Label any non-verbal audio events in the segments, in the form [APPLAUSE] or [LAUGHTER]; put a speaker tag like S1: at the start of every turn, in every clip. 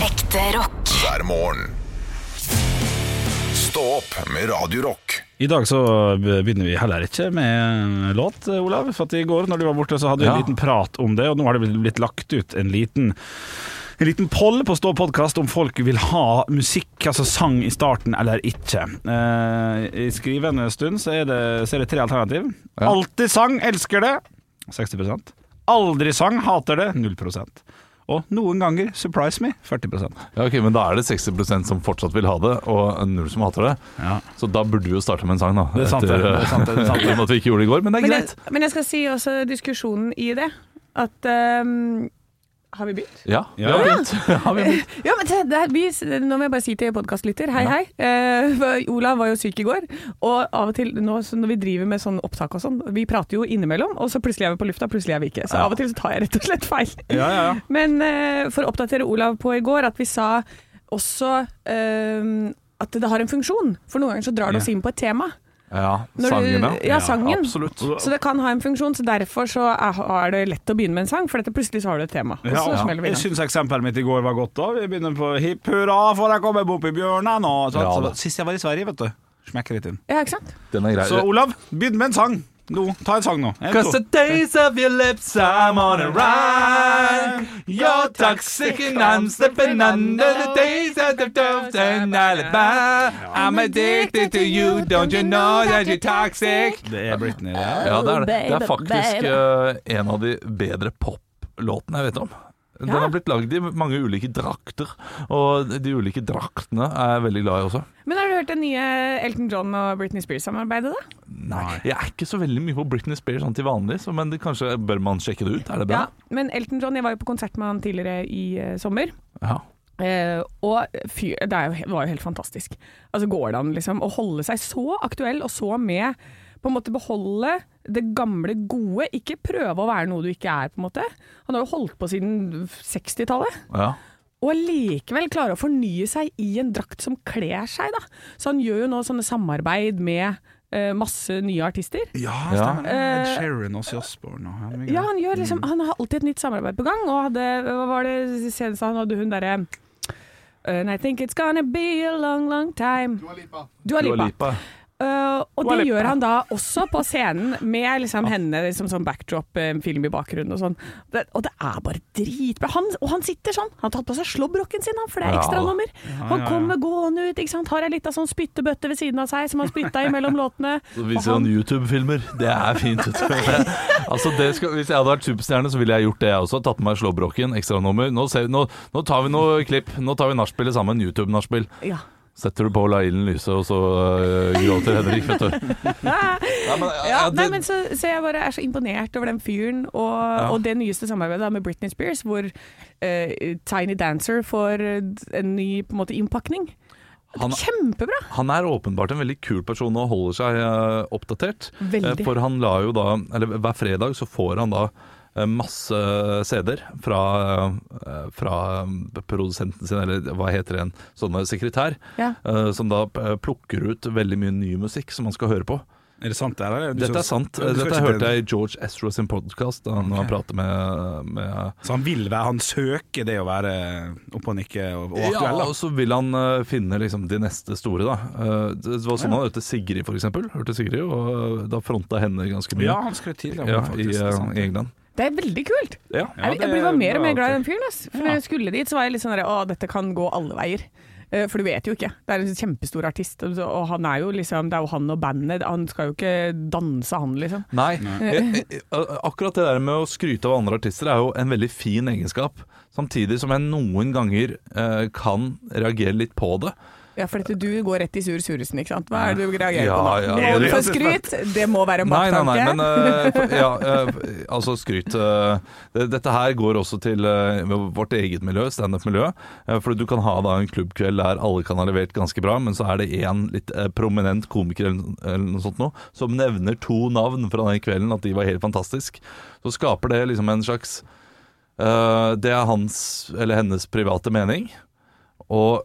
S1: Ekte rock.
S2: hver morgen. Stå opp med Radio Rock.
S3: I dag så begynner vi heller ikke med en låt, Olav. For at i går når du var borte, så hadde vi en
S4: Ja.
S3: liten prat om det, og nå har det blitt- blitt lagt ut en liten en liten poll på Stå podkast om folk vil ha musikk, altså sang, i starten eller ikke. Eh, I skrivende stund så er det, så er det tre alternativ.
S4: Ja.
S3: Alltid sang, elsker det. 60 Aldri sang, hater det. 0 Og noen ganger, surprise me, 40
S4: Ja, ok, Men da er det 60 som fortsatt vil ha det, og null som hater det.
S3: Ja.
S4: Så da burde vi jo starte med en sang, da.
S3: Det er sant, det. Det er
S4: [LAUGHS]
S3: sant, det er sant, det.
S4: uten at vi ikke gjorde det i går, men det er
S5: Men
S4: greit.
S5: jeg, men jeg skal si også diskusjonen i det. At ehm, Har vi begynt?
S4: Ja, vi
S3: Ja.
S4: har begynt. [LAUGHS] Ja, vi har begynt.
S5: Ja, men det, det er, vi, nå må jeg bare si til podkastlytter hei, hei. Eh, for Olav var jo syk i går. Og av og til nå, så når vi driver med sånn opptak og sånn, vi prater jo innimellom, og så plutselig er vi på lufta, plutselig er vi ikke. Så av og til så tar jeg rett og slett feil.
S3: [LAUGHS] Ja, ja, ja.
S5: Men eh, for å oppdatere Olav på i går, at vi sa også eh, at det har en funksjon. For noen ganger så drar det oss
S3: Ja.
S5: inn på et tema.
S4: Ja,
S5: Når du-
S4: sangene.
S5: ja, sangen.
S4: absolutt.
S5: Så det kan ha en funksjon, så derfor så er, er det lett å begynne med en sang, for dette plutselig så har du et tema. Og
S3: Ja,
S5: så
S3: ja.
S5: smeller vi i
S3: Jeg
S5: gang.
S3: syns eksempelet mitt i går var godt. da Vi begynner på hipp hurra, for jeg kommer bort i bjørna nå. Så,
S4: Ja, da.
S3: så, sist jeg var i Sverige, vet du. Smekker litt inn.
S5: Ja, ikke sant?
S4: Den er grei.
S3: Så Olav, begynn med en sang. Nå, ta en sang nå. En,
S4: Cause the
S3: to.
S4: days of your lips I'm on a ride You're toxic and I'm slipping under the days of the doves and alibi I'm addicted to you, don't you know that you're toxic
S3: Det er Britney. det her.
S4: Ja, det er det. Det er faktisk eh, en av de bedre poplåtene jeg vet om. Den
S5: Ja.
S4: har blitt lagd i mange ulike drakter, og de ulike draktene er jeg veldig glad i også.
S5: Men har du hørt det nye Elton John og Britney Spears-samarbeidet, da?
S4: Nei, Jeg er ikke så veldig mye på Britney Spears sånn til vanlig, så, men det, kanskje bør man sjekke det ut? Er det bra?
S5: Men Elton John, jeg var jo på konsert med han tidligere i eh, sommer.
S4: Ja.
S5: Eh, og fyr, det er jo, he- var jo helt fantastisk. Altså Går det an liksom å holde seg så aktuell og så med På en måte beholde det gamle gode, ikke prøve å være noe du ikke er, på en måte. Han har jo holdt på siden 60-tallet.
S4: ja.
S5: Og allikevel klare å fornye seg i en drakt som kler seg, da. Så han gjør jo nå sånne samarbeid med eh, masse nye artister.
S3: Ja,
S4: Ja.
S3: stemmer det. Ed Sheeran og Osborne. og han er mye
S5: Ja,
S3: gøy.
S5: han gjør liksom Han har alltid et nytt samarbeid på gang, og hadde Hva var det seneste han hadde hun derre And I think it's gonna be a long, long time. Dua Lipa. Dua
S4: Dua
S5: Lipa.
S4: Lipa.
S5: Eh, og
S4: Dua
S5: det
S4: Lipa.
S5: gjør han da også på scenen, med liksom henne som sånn backdrop-film i bakgrunnen og sånn. Det, og det er bare dritbra. Han, og han sitter sånn. Han har tatt på seg slåbroken sin, han, for det er
S4: Ja.
S5: ekstranummer.
S3: ja,
S5: Han
S3: ja.
S5: kommer gående ut, ikke sant. Har ei lita sånn spyttebøtte ved siden av seg som han spytta
S4: [LAUGHS]
S5: i mellom låtene.
S4: Så
S5: Og
S4: viser han YouTube-filmer. Det er [LAUGHS] fint. vet du. altså, det skal, hvis jeg hadde vært superstjerne, så ville jeg gjort det, jeg også. Tatt med meg slåbroken, ekstranummer. Nå, ser- nå, nå tar vi noe klipp. Nå tar vi nachspielet sammen. YouTube-nachspiel.
S5: Ja.
S4: Setter du på La ilden lyse, og så øh, gråter Henrik, vet du. Nei, men, eh, [LAUGHS]
S5: Ja,
S4: ja,
S5: nei,
S4: det-
S5: men så, så jeg bare er så imponert over den fyren og, og det nyeste samarbeidet da med Britney Spears, hvor eh, Tiny Dancer får eh, en ny på en måte innpakning.
S4: Han-
S5: Kjempebra!
S4: Han er åpenbart en veldig kul person og holder seg eh, oppdatert.
S5: Veldig.
S4: Eh, For han la jo da, eller hver fredag så får han da eh, masse CD-er fra, eh, fra eh, produsenten sin, eller hva heter det, en sånn sekretær,
S5: Ja.
S4: eh, som da eh, plukker ut veldig mye ny musikk som han skal høre på.
S3: Er det sant, det her? eller? Du
S4: Dette er
S3: synes-
S4: sant.
S3: Ja, du skal
S4: Dette
S3: ikke
S4: hørte
S3: til-
S4: jeg i George Ezra sin podkast, da han prater med, med
S3: Så han vil være Han søker det å være oppe og nikke og, og aktuell,
S4: Ja, og
S3: da.
S4: så vil han eh, finne liksom, de neste store, da. Eh, det var sånn han hørte Sigrid, for eksempel. Hørte Sigrid, og eh, da fronta henne ganske mye.
S3: Ja, han skrøt tidligere om
S4: Ja,
S3: det,
S4: i,
S3: faktisk. Det er sant.
S4: eh, England.
S5: Det er veldig kult!
S4: Ja.
S3: Ja,
S5: jeg,
S3: det
S5: jeg blir bare mer og
S3: er
S5: mer
S3: bra
S5: glad
S3: alltid.
S5: i den fyren. ass. For Når jeg skulle dit, så var jeg litt sånn der, Å, dette kan gå alle veier. Eh, For du vet jo ikke. Det er en kjempestor artist, og så- og han er jo liksom Det er jo han og bandet. Han skal jo ikke danse, han, liksom.
S4: Nei, eh, jeg- jeg- akkurat det der med å skryte av andre artister er jo en veldig fin egenskap. Samtidig som jeg noen ganger eh, kan reagere litt på det.
S5: Ja, for dette, du går rett i sur suresen, ikke sant. Hva er det du reagerer
S4: Ja,
S5: på nå?
S4: ja.
S5: Må du
S3: Ja, det
S5: få
S3: er
S5: skryt? Det må være en
S4: Nei, nei,
S5: baktanke.
S4: nei, men eh, for- ja, eh, altså skryt. eh, det- dette her går også til eh, vårt eget miljø, standup-miljø. eh, for du kan ha da en klubbkveld der alle kan ha levert ganske bra, men så er det én litt eh, prominent komiker eller, eller noe sånt nå, som nevner to navn fra den kvelden, at de var helt fantastisk. Så skaper det liksom en slags eh, Det er hans eller hennes private mening. Og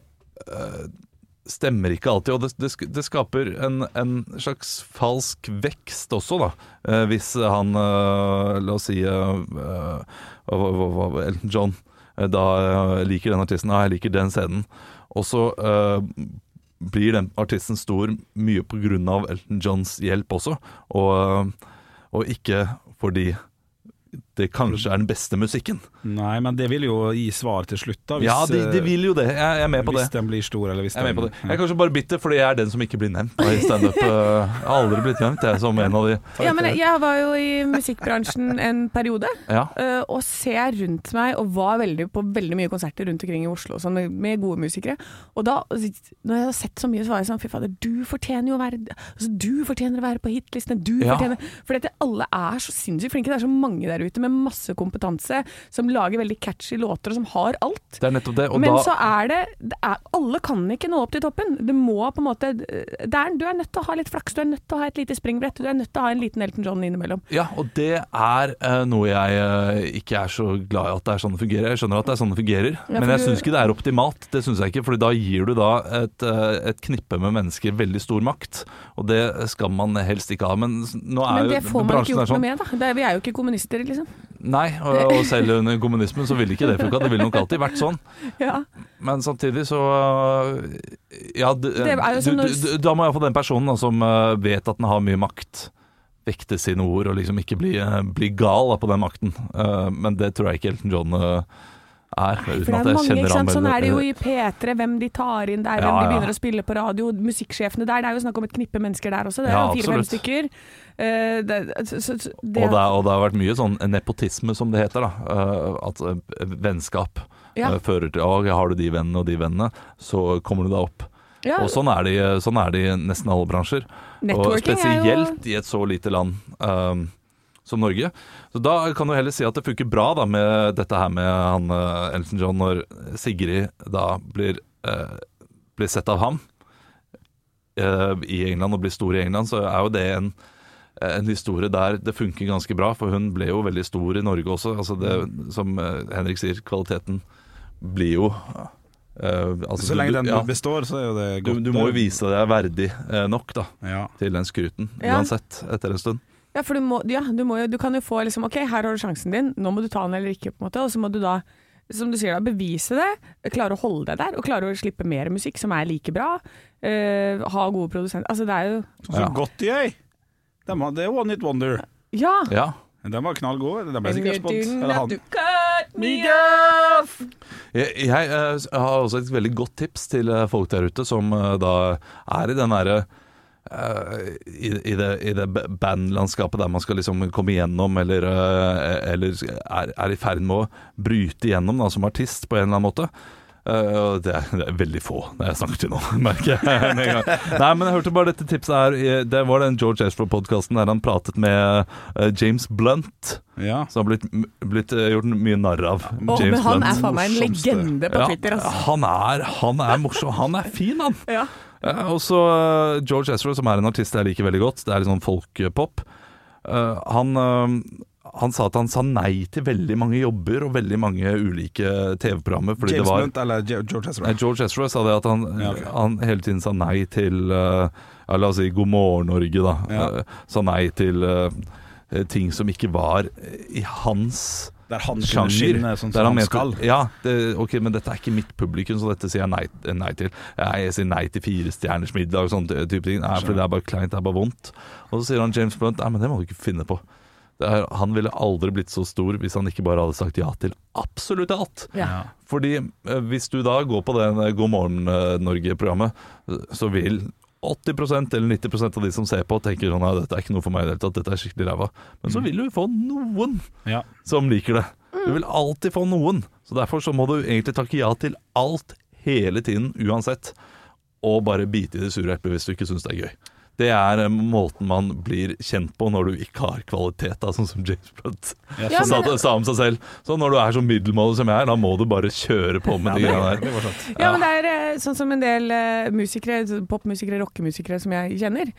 S4: stemmer ikke alltid, og det, det, sk- det skaper en, en slags falsk vekst også, da. Eh, hvis han, eh, la oss si eh, eh, hva- hva- hva- Elton John eh, da jeg liker den artisten, ja, jeg liker den scenen. Og så eh, blir den artisten stor mye på grunn av Elton Johns hjelp også, og, eh, og ikke fordi det kanskje er den beste musikken.
S3: Nei, men det vil jo gi svar til slutt, da. Hvis,
S4: ja, de, de vil jo det. eh, Jeg, jeg er med på det.
S3: hvis den blir stor, eller hvis
S4: Jeg er med
S3: den
S4: på det. Jeg er kanskje bare bitter fordi jeg er den som ikke blir nevnt da i standup. Eh, Jeg har aldri blitt nevnt, jeg, som en av de.
S5: Ja, men jeg var jo i musikkbransjen en periode,
S4: Ja.
S5: eh, og ser rundt meg, og var veldig, på veldig mye konserter rundt omkring i Oslo og sånn, med gode musikere. Og da, når jeg har sett så mye, så var jeg sånn fy fader, du fortjener jo å være altså, Du fortjener å være på hitlistene, du
S4: Ja.
S5: fortjener For dette, alle er så sinnssykt flinke. Det er så mange der ute med masse kompetanse, som lager veldig catchy låter, og som har alt.
S4: Det er nettopp det. Og
S5: Men
S4: da,
S5: så er det, det er, Alle kan ikke nå opp til toppen. Det må på en måte det er, Du er nødt til å ha litt flaks, du er nødt til å ha et lite springbrett, du er nødt til å ha en liten Elton John innimellom.
S4: ja, og det er eh, noe jeg eh, ikke er så glad i at det er sånn det fungerer. Jeg skjønner at det er sånn det fungerer,
S5: Ja, for
S4: men jeg
S5: du-
S4: syns ikke det er optimalt. Det synes jeg ikke, fordi da gir du da et, eh, et knippe med mennesker veldig stor makt, og det skal man helst ikke ha. Men s- nå er
S5: Men det
S4: jo
S5: får man ikke
S4: bransjen er
S5: gjort
S4: sånn.
S5: noe med, da. Det er, vi er jo ikke kommunister, liksom.
S4: Nei, og, og selv under kommunismen så ville ikke det funka. Det ville nok alltid vært sånn.
S5: Ja.
S4: Men samtidig så øh, Ja, d-
S5: er
S4: du,
S5: jo som når-
S4: du, du, da må iallfall den personen da, som øh, vet at den har mye makt, vekte sine ord og liksom ikke bli, øh, bli gal da, på den makten. Øh, men det tror jeg ikke Elton John øh, er.
S5: For det er mange, ikke sant. Sånn er det jo i P3, hvem de tar inn der, hvem
S4: Ja,
S5: de
S4: ja.
S5: begynner å spille på radio, musikksjefene der. Det er jo snakk om et knippe mennesker der også. Det er
S4: Ja,
S5: jo fire-fem
S4: absolutt.
S5: stykker. Eh, det, så, så, så, det,
S4: Eh, og, det er, og det har vært mye sånn nepotisme, som det heter. da øh, At øh, vennskap
S5: Ja.
S4: øh, fører til Å, har du de vennene og de vennene, så kommer du deg opp.
S5: ja,
S4: Og sånn er det i- sånn er det i nesten alle bransjer. Og
S5: networking er jo-
S4: spesielt i et så lite land ehm, som Norge. Så da kan du heller si at det funker bra da, med dette her med han eh, Elton John, når Sigrid da blir, eh, blir sett av ham eh, i England og blir stor i England, så er jo det en en historie der det funker ganske bra, for hun ble jo veldig stor i Norge også. Altså det, som eh, Henrik sier, kvaliteten blir jo eh,
S3: [LAUGHS]
S4: altså
S3: Så lenge
S4: du-
S3: den
S4: ja,
S3: består, så er jo det
S4: du,
S3: godt.
S4: du må jo vise deg verdig eh, nok, da
S3: Ja.
S4: til den skryten
S5: Ja.
S4: uansett, etter en stund.
S5: Ja, for du, må, ja, du, må jo, du kan jo få liksom OK, her har du sjansen din, nå må du ta den eller ikke, på en måte. Og så må du da, som du sier, da, bevise det. Klare å holde deg der, og klare å slippe mer musikk som er like bra. eh, ha gode produsenter. Altså, det er jo
S3: Så
S4: Ja.
S3: godt i øy! Den var- Det er One Hit Wonder.
S5: Ja!
S4: Ja.
S3: Den var knallgod. Den ble sikkert spons. Eller han.
S4: Jeg, jeg eh, s- har også et veldig godt tips til eh, folk der ute som eh, da er i den derre eh, i, i det, i det ba- bandlandskapet der man skal liksom komme igjennom, eller, eh, eller er, er i ferd med å bryte igjennom da, som artist på en eller annen måte. Eh, og det, er, det er veldig få det jeg snakker til nå, [LAUGHS] merker jeg. med en gang. Nei, men jeg hørte bare dette tipset her. i- Det var den George Ashford-podkasten der han pratet med eh, James Blunt.
S3: Ja.
S4: Så han har blitt, blitt eh, gjort mye narr av.
S5: Å, men han er faen meg en
S3: Morsomste.
S5: legende på Twitter, altså.
S4: han er, han er morsom. Han er fin, han.
S5: Ja.
S4: Eh, Og så eh, George Ezra, som er en artist jeg liker veldig godt. Det er litt sånn folkpop. Eh, Han, eh, han sa at han sa nei til veldig mange jobber og veldig mange ulike TV-programmer. Fordi
S3: James
S4: det var
S3: Blunt eller Jo- George Ezra?
S4: Nei, George Ezra sa det at han,
S3: Ja, ok.
S4: han hele tiden sa nei til eh, ja, La oss si God morgen Norge, da.
S3: Ja.
S4: Eh, Sa nei til eh, ting som ikke var i hans
S3: Der han kunne
S4: sjanger.
S3: skinne sånn
S4: der
S3: som han
S4: mente-
S3: skal.
S4: Ja, det, ok, men dette er ikke mitt publikum, så dette sier jeg nei, nei til. Jeg, jeg sier nei til fire stjerners middag og sånne type ting. Nei, for det er bare kleint, det er bare vondt. Og så sier han James Blunt Nei, men det må du ikke finne på. Det er, han ville aldri blitt så stor hvis han ikke bare hadde sagt ja til absolutt alt.
S5: Ja.
S4: Fordi eh, hvis du da går på den eh, God morgen eh, Norge-programmet, eh, så vil 80 eller 90 av de som ser på, tenker sånn Nei, dette er ikke noe for meg i det hele tatt, dette er skikkelig ræva. Men
S3: Mm.
S4: så vil du få noen
S3: Ja.
S4: som liker det. Du vil alltid få noen. Så derfor så må du egentlig takke ja til alt hele tiden, uansett. Og bare bite i det sure eplet hvis du ikke syns det er gøy. Det er eh, måten man blir kjent på når du ikke har kvalitet, da, sånn som James Blunt
S5: Ja,
S4: sa,
S5: men-
S4: sa om seg selv. Så når du er så middelmådig som jeg er, da må du bare kjøre på med de greiene der.
S3: Det var sant.
S5: [LAUGHS] Ja, men det er eh, sånn som en del eh, musikere, så- popmusikere, rockemusikere som jeg kjenner.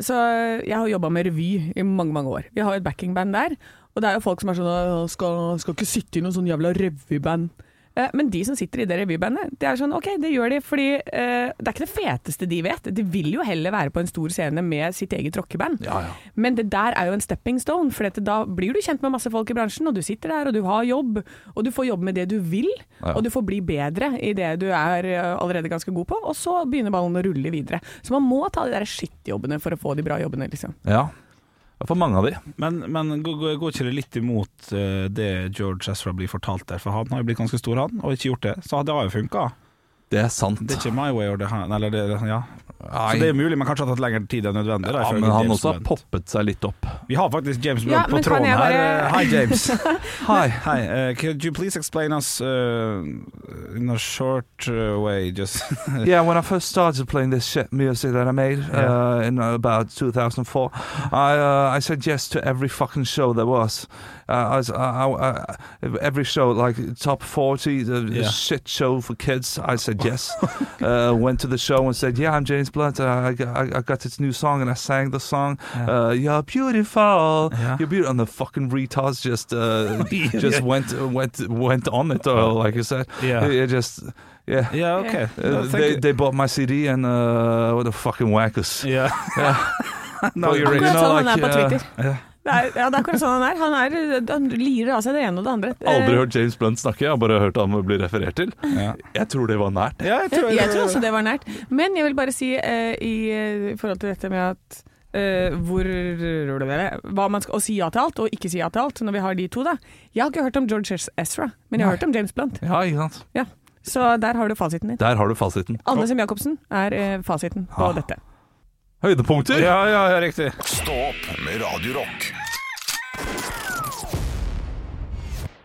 S5: Så eh, jeg har jobba med revy i mange, mange år. Vi har jo et backingband der. Og det er jo folk som er sånn «Å, skal, skal ikke sitte i noen sånn jævla revyband. Eh, Men de som sitter i det revybandet, det er sånn OK, det gjør de fordi eh, det er ikke det feteste de vet. De vil jo heller være på en stor scene med sitt eget rockeband.
S4: Ja, ja.
S5: Men det der er jo en stepping stone, for dette, da blir du kjent med masse folk i bransjen, og du sitter der, og du har jobb, og du får jobbe med det du vil,
S4: Ja.
S5: og du får bli bedre i det du er eh, allerede ganske god på, og så begynner ballen å rulle videre. Så man må ta de der skittjobbene for å få de bra jobbene, liksom.
S4: Ja. For mange av de.
S3: Men, men går, går går ikke det litt imot eh, det George Ezra blir fortalt der? For han har jo blitt ganske stor, han, og ikke gjort det. Så det har jo funka.
S4: Det er sant.
S3: Det er ikke my way or the hand, eller det, ja. Så
S4: Nei.
S3: det er mulig, men kanskje har tatt lengre tid enn nødvendig. Da,
S4: ja,
S3: ifølge
S4: men han
S3: James
S4: også har
S3: Blunt.
S4: poppet seg litt opp.
S3: Vi har faktisk James Blunt
S5: Ja,
S3: på
S5: men kan
S3: tråden
S5: jeg
S3: her.
S5: bare-
S3: Eh, Hi,
S5: [LAUGHS]
S3: James.
S4: Hei.
S3: Hi. Uh, could you please explain us uh, in a short uh, way? Just
S4: Yeah, when I first started playing this shit music that I made uh, in about 2004, I uh, I said yes to every fucking show there was. Uh, I, was- I- I- I- every show, like top 40, the
S3: Yeah.
S4: shit show for kids, I said
S3: [LAUGHS]
S4: yes. uh, went to the show and said, yeah, I'm James Blunt. Uh, I, got- I, I got this new song and I sang the song. Uh, you're beautiful.
S3: [LAUGHS] Yeah.
S4: You're beautiful. And the fucking retards
S3: [LAUGHS]
S4: just uh, [LAUGHS] just went went went on it, uh, like you said.
S3: Yeah.
S4: It- it just, yeah.
S3: Yeah, okay.
S4: Uh,
S3: No, thank
S4: they,
S3: you.
S4: they bought my CD and uh, what the fucking wackers. [LAUGHS]
S3: Yeah. [LAUGHS] no,
S4: But,
S3: you're
S4: you
S3: right.
S5: Akkurat
S4: know,
S5: sånn han
S4: like,
S5: er på
S4: uh, [LAUGHS]
S5: Twitter. Det er, ja, det er akkurat sånn han er. Han, er. han lirer av seg det ene og det andre. Eh,
S4: Aldri hørt James Blunt snakke, jeg har bare hørt han bli referert til.
S3: Ja.
S4: Jeg tror det var nært.
S3: Ja, jeg tror,
S5: Jeg tror også det var nært. Men jeg vil bare si eh, i, eh, forhold til dette med at eh, hvor Hva man skal å si ja til alt, og ikke si ja til alt, når vi har de to, da. Jeg har ikke hørt om George Ezra, men jeg har
S4: Nei.
S5: hørt om James Blunt.
S4: Ja, ikke sant?
S5: Ja. Så der har du fasiten din.
S4: Der har du fasiten.
S5: Anne Sem Jacobsen er eh, fasiten på
S4: Ah.
S5: dette.
S4: Høydepunkter!
S3: Ja, ja, ja, riktig.
S2: Stå opp med Radio Rock.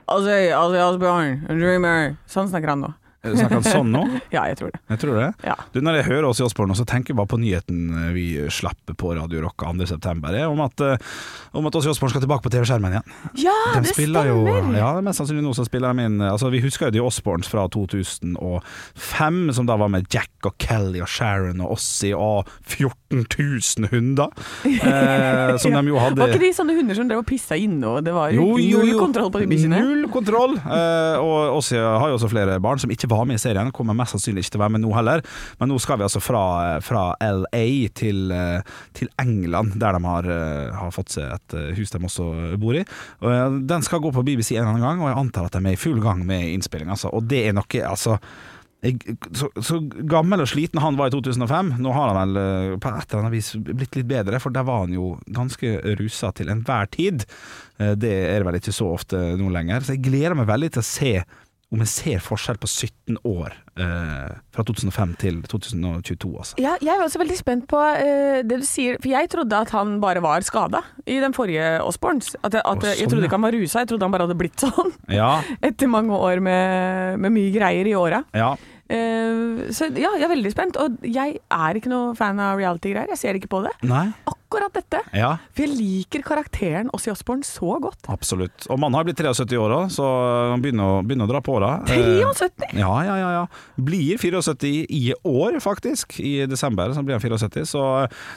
S5: Altså, altså Asbjørn, dreamer Sånn snakker han nå.
S3: Snakker han sånn nå?
S5: Ja, jeg tror det.
S3: Jeg tror det.
S5: Ja.
S3: Du, når jeg hører oss i Osborne, så tenker jeg bare på nyheten eh, vi slapp på Radio Rock 2.9. Om at, eh, om at oss i Osborne skal tilbake på TV-skjermen igjen.
S5: Ja,
S3: De
S5: det
S3: spiller
S5: stemmer!
S3: jo Ja, det er mest sannsynlig nå som spiller de inn altså, Vi husker jo The Osborns fra 2005, som da var med Jack og Kelly og Sharon og Ossie og 14 000
S5: [LAUGHS]
S3: hunder, eh, som de jo hadde
S5: Var ikke de sånne hunder som drev og pissa inne, og det var null kontroll på de bikkjene?
S3: Null kontroll. Eh, og Åssi har jo også flere barn som ikke var med i serien. Kommer mest sannsynlig ikke til å være med nå heller. Men nå skal vi altså fra, fra LA til, eh, til England, der de har, eh, har fått seg et eh, hus de også bor i. Og, eh, den skal gå på BBC en eller annen gang, og jeg antar at de er i full gang med innspilling. Altså. Og det er noe altså jeg, så, så gammel og sliten han var i 2005, nå har han vel eh, på et eller annet vis blitt litt bedre, for der var han jo ganske rusa til enhver tid. Eh, Det er det vel ikke så ofte nå lenger. Så jeg gleder meg veldig til å se om jeg ser forskjell på 17 år eh, fra 2005 til 2022, altså.
S5: Ja, jeg er også veldig spent på eh, det du sier, for jeg trodde at han bare var skada i den forrige Osborns. At jeg, at
S3: Å,
S5: jeg
S3: sånn,
S5: trodde
S3: ja.
S5: ikke han var rusa, jeg trodde han bare hadde blitt sånn [LAUGHS]
S3: Ja,
S5: etter mange år med, med mye greier i åra.
S3: ja.
S5: Eh, så ja, jeg er veldig spent, og jeg er ikke noe fan av reality-greier, jeg ser ikke på det.
S3: Nei.
S5: Akkurat dette.
S3: Ja,
S5: For jeg liker karakteren Åssi Osborn så godt.
S3: absolutt. Og mannen har blitt 73 år òg, så han begynner å, begynner å dra på åra. Eh,
S5: 73!
S3: Ja, ja, ja, ja. Blir 74 i år, faktisk. I desember så blir han 74. Så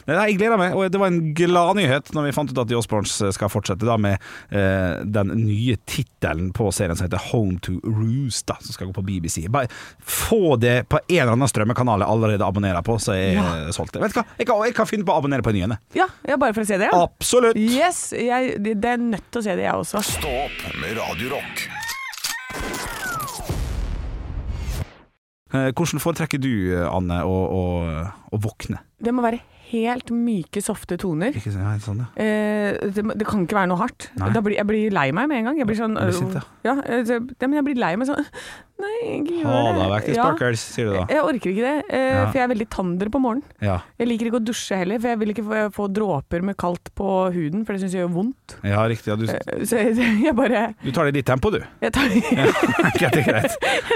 S3: nei, nei, jeg gleder meg. Og det var en glad nyhet når vi fant ut at The Osborns skal fortsette da med eh, den nye tittelen på serien som heter Home to Roost, da, som skal gå på BBC. Bare få det på en eller annen strømmekanal jeg allerede abonnerer på, så er jeg
S5: Ja.
S3: eh, solgt. Vet du hva, jeg kan, jeg kan finne på å abonnere på en ny en. jeg.
S5: Ja, ja, bare for å se det. Ja.
S3: Absolutt!
S5: Yes! Jeg, det det er nødt til å se det, jeg også.
S2: Stå opp med Radio Rock.
S3: Eh, hvordan foretrekker du, Anne, å, å, å våkne?
S5: Det må være helt myke, softe toner.
S3: Ikke sånn, ja, sånn ja.
S5: Eh, det, det kan ikke være noe hardt.
S3: Nei.
S5: Da blir, jeg blir lei meg med en gang. Jeg blir sånn
S3: Du blir sint, ja.
S5: ja, eh, så- ja, men jeg blir lei meg sånn Nei, ikke gjør det.
S3: Ha deg vekk, de
S5: Ja.
S3: sparkers, sier du da.
S5: Jeg orker ikke det, eh,
S3: Ja.
S5: for jeg er veldig tander på morgenen.
S3: Ja.
S5: Jeg liker ikke å dusje heller, for jeg vil ikke få, få dråper med kaldt på huden, for det syns jeg gjør vondt.
S3: Ja, riktig. Ja, du,
S5: Eh, Så jeg, jeg [LAUGHS] bare
S3: du tar det i ditt tempo, du. [LAUGHS]
S5: Jeg tar, [LAUGHS] jeg
S3: Greit, det er greit.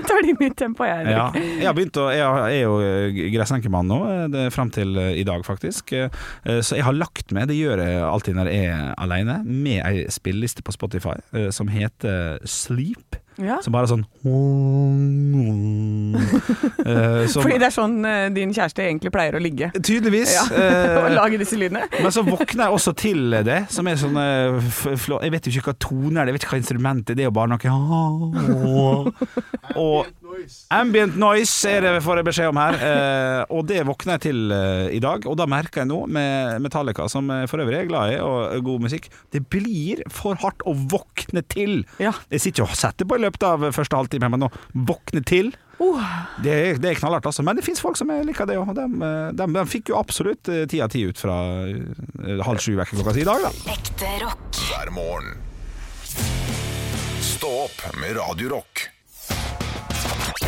S5: tar det i mitt tempo, jeg. Henrik.
S3: Ja. Jeg har begynt å Jeg har- jeg er jo eh, gressenkemann nå, eh, det er frem til eh, i dag, faktisk. Eh, eh, Så jeg har lagt med, det gjør jeg alltid når jeg er alene, med ei spilleliste på Spotify eh, som heter Sleep.
S5: Ja.
S3: Som bare er sånn [LAUGHS] eh, som
S5: Fordi det er sånn eh, din kjæreste egentlig pleier å ligge. [LAUGHS]
S3: Tydeligvis.
S5: Ja, Og
S3: eh,
S5: lage disse lydene.
S3: men så våkner jeg også til det, som er sånn eh, f- flå- Jeg vet jo ikke hva toner det er, jeg vet ikke hva instrumentet er, det er jo bare noe Og Ambient noise er det vi får beskjed om her, eh, og det våkner jeg til eh, i dag. Og da merker jeg nå, med Metallica, som jeg for øvrig er glad i, og eh, god musikk, det blir for hardt å våkne til.
S5: Ja.
S3: Jeg sitter jo og setter på i løpet av første halvtime, men å våkne til
S5: Uh,
S3: det er, det er knallhardt, altså. Men det fins folk som er- liker det òg. De, de, eh, fikk jo absolutt eh, ti av ti ut fra eh, halv sju vekk klokka si i dag, da.
S1: Ekte rock.
S2: hver morgen. Stå opp med Radio Rock.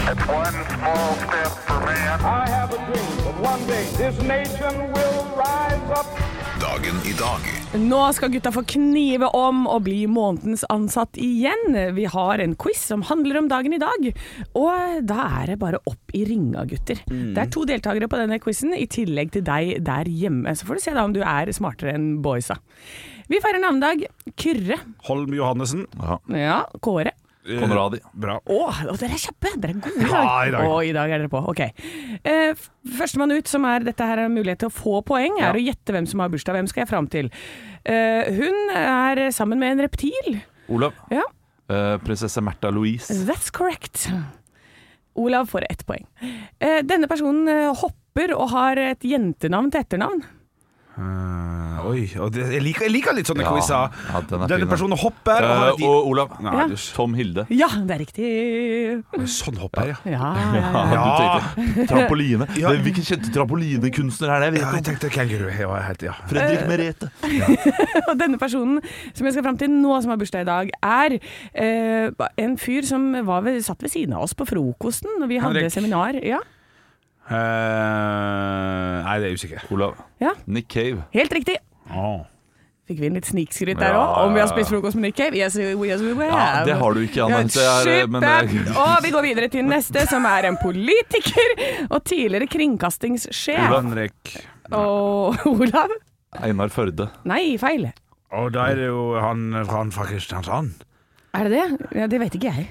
S6: One small step for man.
S7: I have a dream that one day this nation will rise up.
S2: Dagen i dag
S5: nå skal gutta få knive om og bli månedens ansatt igjen. Vi har en quiz som handler om dagen i dag, og da er det bare opp i ringa, gutter. Det er to deltakere på denne quizen, i tillegg til deg der hjemme. Så får du se da om du er smartere enn boysa. Vi feirer navnedag. Kyrre.
S3: Holm Johannessen.
S5: Ja, Kåre.
S4: Konradi.
S3: Bra.
S5: Å, å, dere er kjappe! Dere er gode i dag.
S3: Ja, i dag.
S5: Å, i dag er dere på. Ok. Eh, f- Førstemann ut, som er dette her er mulighet til å få poeng, er å gjette hvem som har bursdag. Hvem skal jeg fram til? Eh, hun er sammen med en reptil.
S4: Olav.
S5: Ja,
S4: Eh, prinsesse Märtha Louise.
S5: that's correct. Olav får ett poeng. Eh, denne personen eh, hopper og har et jentenavn til etternavn.
S3: Eh, oi, og det, jeg, liker, jeg liker litt sånne
S4: Ja,
S3: quizer.
S4: ja, den er fin,
S3: Denne
S4: den.
S3: personen hopper. og har
S4: Eh,
S3: et-
S4: og Olav.
S3: Nei,
S5: Ja.
S4: Tom Hilde.
S5: Ja, det er riktig.
S3: Sånn hopper, ja.
S5: Ja, ja, ja.
S3: Ja.
S4: Du tenkte trampoline.
S3: Ja.
S4: Det- Hvilken kjente trampolinekunstner er det? Jeg
S3: ja jeg
S4: vet ikke.
S3: tenkte kenguru. Jeg var helt, ja.
S4: Fredrik Merete.
S5: Og [LAUGHS] denne personen som jeg skal fram til nå, som har bursdag i dag, er eh, en fyr som var ved, satt ved siden av oss på frokosten når vi hadde
S3: Henrik.
S5: seminar. Ja,
S3: Eh, nei, det er jeg usikker. Ah.
S4: Olav.
S5: ja,
S4: Nick Cave.
S5: helt riktig.
S3: Åh.
S5: Fikk vi inn litt snikskryt der
S4: Ja,
S5: òg, om vi har
S4: ja,
S5: spist frokost med Nick Cave? Yes, we- yes, we have.
S4: Ja, det har du ikke,
S5: Ja,
S4: Anne. Det er, eh, men det
S5: super.
S4: er,
S5: Og vi går videre til neste, som er en politiker og tidligere kringkastingssjef.
S3: Henrik.
S5: Og [LAUGHS] Olav?
S4: eh, Einar Førde.
S5: Nei, feil.
S3: Og da er det jo han, han fra Kristiansand.
S5: Er det det? Ja, det vet ikke jeg.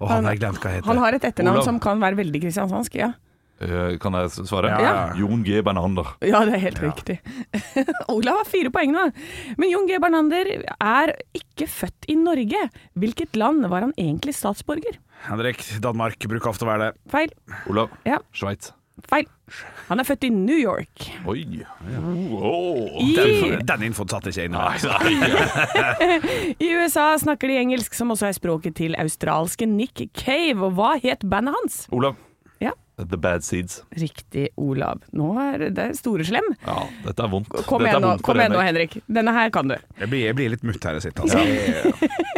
S3: Og han
S5: Han-
S3: har jeg glemt hva
S5: Han
S3: heter.
S5: har et etternavn
S4: Olav.
S5: som kan være veldig kristiansandsk. Ja,
S4: Eh, Kan jeg s- svare?
S3: Ja.
S4: Jon G. Bernander.
S5: ja det er helt riktig. [LAUGHS] Olav har fire poeng nå. Men Jon G. Bernander er ikke født i Norge. Hvilket land var han egentlig statsborger?
S3: Henrik, Danmark bruker ofte å være det.
S5: Feil.
S4: Olav.
S5: Ja,
S4: Sveits.
S5: feil. Han er født i New York.
S4: Oi. Oh,
S5: I-
S3: Den, den infoen satt ikke jeg inne med.
S5: I USA snakker de engelsk, som også er språket til australske Nick Cave. Og hva het bandet hans?
S4: Olav.
S5: Ja.
S4: The Bad Seeds.
S5: Riktig, Olav. Nå er det store slem.
S4: Ja, dette er vondt.
S5: Kom
S4: dette er
S5: igjen nå,
S4: vondt for
S5: kom igjen nå,
S4: Henrik.
S5: Henrik. Denne her kan du.
S3: Jeg blir, jeg blir litt mutt her jeg sitter. Altså.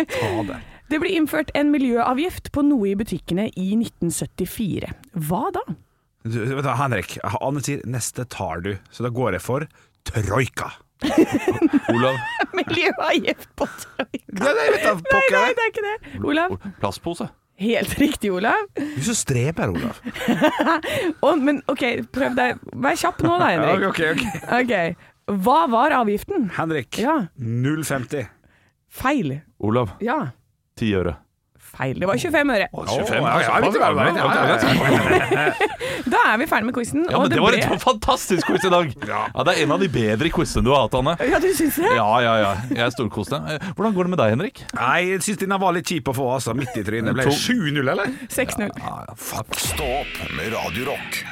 S3: Fader.
S5: Det ble innført en miljøavgift på noe i butikkene i 1974. Hva da?
S3: Du, vet du, Henrik, Anne sier 'neste tar du', så da går jeg for Troika.
S4: Olav.
S5: Miljøavgift på trøy...
S3: Nei, [LAUGHS] nei, vet du,
S5: Nei, nei,
S3: pokker.
S5: det er ikke det. Olav.
S4: Plastpose.
S5: Helt riktig, Olav.
S3: Du er så streber, Olav.
S5: Å, men OK, prøv deg. Vær kjapp nå da, Henrik.
S3: ok, ok.
S5: Ok. Hva var avgiften?
S3: Henrik,
S5: Ja.
S3: 0,50.
S5: Feil.
S4: Olav.
S5: Ja.
S4: Ti øre.
S5: Feil. Det var 25 øre.
S3: Å, ja, ja, vet du hva, vet du hva, vet du hva.
S5: Da er vi ferdig med quizen.
S4: Ja, men det var en fantastisk quiz i dag! Ja, Det er en av de bedre quizene du har hatt, Anne.
S5: Ja, du syns det?
S4: Ja, ja, ja. Jeg storkoste. Eh, Hvordan går det med deg, Henrik?
S3: Nei, jeg syns den var litt kjip å få, altså. Midt i trynet. Ble det 7-0, eller?
S5: 6-0.
S2: Stå opp med Radio Rock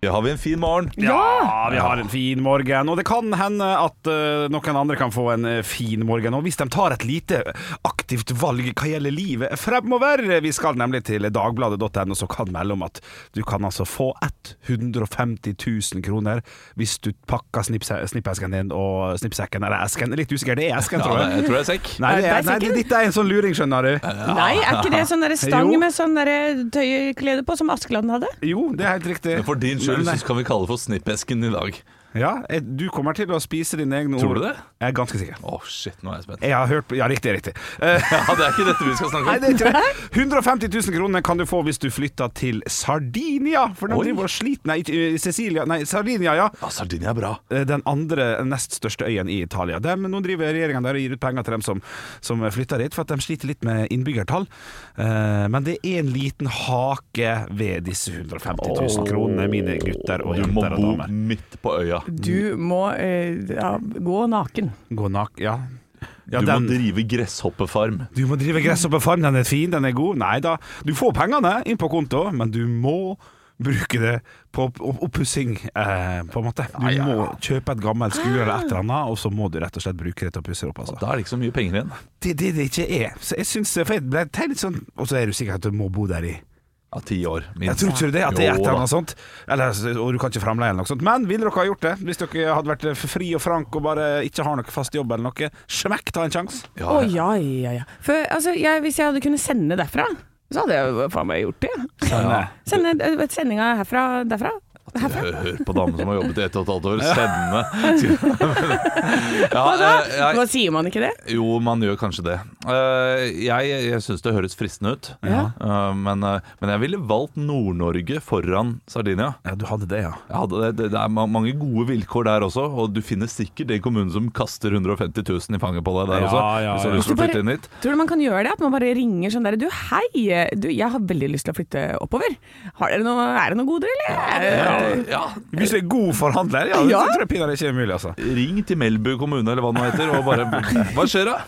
S4: Ja, har vi en fin morgen?
S3: Ja, vi har en fin morgen, og det kan hende at eh, noen andre kan få en eh, fin morgen. Og hvis de tar et lite aktivt valg hva gjelder livet fremover Vi skal nemlig til dagbladet.no, som kan melde om at du kan altså få 150 000 kroner hvis du pakker snipse- snippesken din og snippsekken Eller esken, litt usikker. Det er esken,
S4: Ja,
S3: tror
S4: det-
S3: jeg.
S4: jeg tror det er sekk.
S3: Nei, det er,
S5: Er det
S3: nei,
S5: sekken?
S3: dette er en sånn luring, skjønner du.
S5: Nei, er ikke det sånn derre stang
S3: Jo.
S5: med sånn derre tøyklede på, som Askeladden hadde?
S3: Jo, det er helt riktig.
S4: Men For din skyld
S3: Nei,
S4: så kan vi kalle det for snippesken i dag.
S3: Ja, eh, du kommer til å spise dine egne ord.
S4: Tror du det?
S3: Jeg er ganske sikker.
S4: Å, shit, nå er jeg spent.
S3: Jeg har hørt på Ja, riktig, riktig.
S4: [LAUGHS]
S3: Eh,
S4: Ja, Det er ikke dette vi skal snakke
S3: Nei,
S4: om.
S3: det er ikke det. 150 000 kroner kan du få hvis du flytter til Sardinia. For de
S4: Oi.
S3: driver og sliter Nei, ikke, eh, Sicilia Nei, Sardinia, ja.
S4: Ja, Sardinia er bra.
S3: Eh, Den andre nest største øyen i Italia. De, nå driver regjeringen der og gir ut penger til dem som, som flytter dit, for at de sliter litt med innbyggertall. Eh, Men det er en liten hake ved disse 150 000 kronene, mine gutter og
S4: Du må
S3: jenter og
S4: bo
S3: damer.
S4: midt på øya.
S5: Du må eh, ja, gå naken.
S3: Gå nak... Ja. ja
S4: Du må
S3: den,
S4: drive gresshoppefarm.
S3: du må drive gress opp på farm, den er fin, den er god. Nei da, du får pengene inn på konto, men du må bruke det på opp- opp- oppussing, eh, på en måte. Du må kjøpe et gammelt skue eller et eller annet, og så må du rett og slett bruke det til å pusse det opp. Altså.
S4: Da er det ikke så mye penger igjen.
S3: Det er det det ikke er. Så jeg synes, for jeg ble tenkt litt sånn Og så er du sikker at du må bo der i
S4: Ja, ti år.
S3: Jeg
S4: minst.
S3: tror ikke det, at det er et
S4: Jo da.
S3: eller annet sånt. Eller, altså, og du kan ikke fremleie eller noe sånt. Men ville dere ha gjort det? Hvis dere hadde vært eh, fri og frank og bare ikke har noe fast jobb eller noe. Smekk, ta en sjanse.
S5: Å ja, ja, ja. For altså, jeg, hvis jeg hadde kunnet sende derfra, så hadde jeg jo faen meg gjort det.
S3: Ja.
S5: Sende eh, sendinga herfra, derfra. Herfra.
S4: Hør, hør på damen som har jobbet i ett og et halvt år.
S3: [LAUGHS]
S4: Sende. Ja,
S5: Hva da?
S4: eh, jeg-
S5: Altså, Hva sier man ikke det?
S4: Jo, man gjør kanskje det. Eh, Jeg, jeg syns det høres fristende ut.
S5: Ja.
S4: Eh, Men, eh, men jeg ville valgt Nord-Norge foran Sardinia.
S3: Ja, du hadde det, ja.
S4: Ja, det, det, det er ma- mange gode vilkår der også, og du finner sikkert den kommunen som kaster 150 000 i fanget på deg der
S3: Ja,
S4: også.
S3: ja, ja.
S4: Hvis du har lyst til å
S5: Hvis du
S4: flytte
S5: bare-
S4: inn dit.
S5: Tror du man kan gjøre det? At man bare ringer sånn der Du, hei! Du, jeg har veldig lyst til å flytte oppover. Har dere noe, er det noe goder, eller? Eh,
S4: Ja,
S3: Hvis du er god forhandler, ja,
S5: Ja.
S3: så tror jeg pinadø ikke er mulig, altså.
S4: Ring til Melbu kommune eller hva det nå heter og bare Hva skjer da?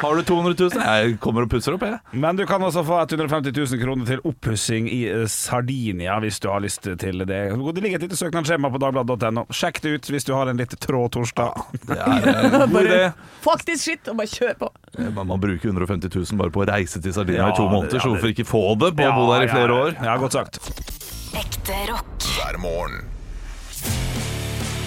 S4: Har du 200 000? Jeg kommer og pusser opp, jeg.
S3: Men du kan altså få 150 000 kroner til oppussing i eh, Sardinia hvis du har lyst til det. Det ligger et lite søknadsskjema på dagbladet.no. Sjekk det ut hvis du har en litt trå torsdag. [LAUGHS]
S4: Det er en god idé.
S5: Fuck this shit, og bare kjør på.
S4: Man, man bruker 150 000 bare på å reise til Sardinia
S3: Ja,
S4: i to måneder,
S3: det- ja,
S4: så
S3: det-
S4: hvorfor ikke få det på å bo der i flere år?
S3: Ja, godt sagt.
S1: Ekte rock.
S2: hver morgen.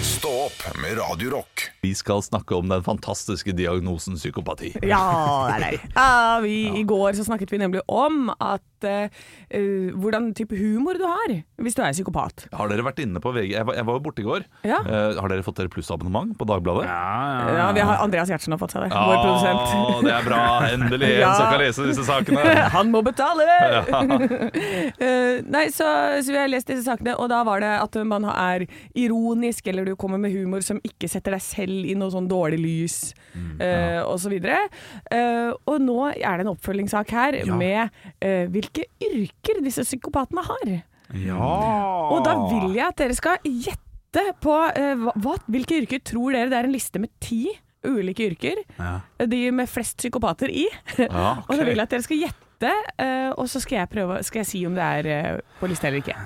S2: Stå opp med Radio Rock.
S4: Vi skal snakke om den fantastiske diagnosen psykopati.
S5: Ja, det er [LAUGHS] det. Ja, vi, I går så snakket vi nemlig om at eh, eh, hvordan type humor du har hvis du er psykopat.
S4: Har dere vært inne på VG? Jeg var, jeg var jo borte i går.
S5: Ja.
S4: Eh, har dere fått dere plussabonnement på Dagbladet?
S5: Ja, vi har Andreas Gjertsen har fått seg det.
S4: Ah.
S5: Vår
S4: Å,
S5: produsent.
S4: det er bra. Endelig en
S5: Ja.
S4: som kan lese disse sakene.
S5: [LAUGHS] Han må betale! [LAUGHS] Eh, nei, så, så vi har lest disse sakene, og da var det at man er ironisk, eller du kommer med humor som ikke setter deg selv i noe sånn dårlig lys, eh, og så videre. Eh, og nå er det en oppfølgingssak her med eh, hvilke yrker disse psykopatene har.
S3: Ja.
S5: Og da vil jeg at dere skal gjette på eh, hva, hva- hvilke yrker tror dere det er en liste med ti ulike yrker. eh,
S3: Ja.
S5: De med flest psykopater i.
S4: Ja,
S5: Og så vil
S4: ok.
S5: jeg at dere skal gjette, eh, og så skal jeg, prøve, skal jeg si om det er eh, på lista eller ikke.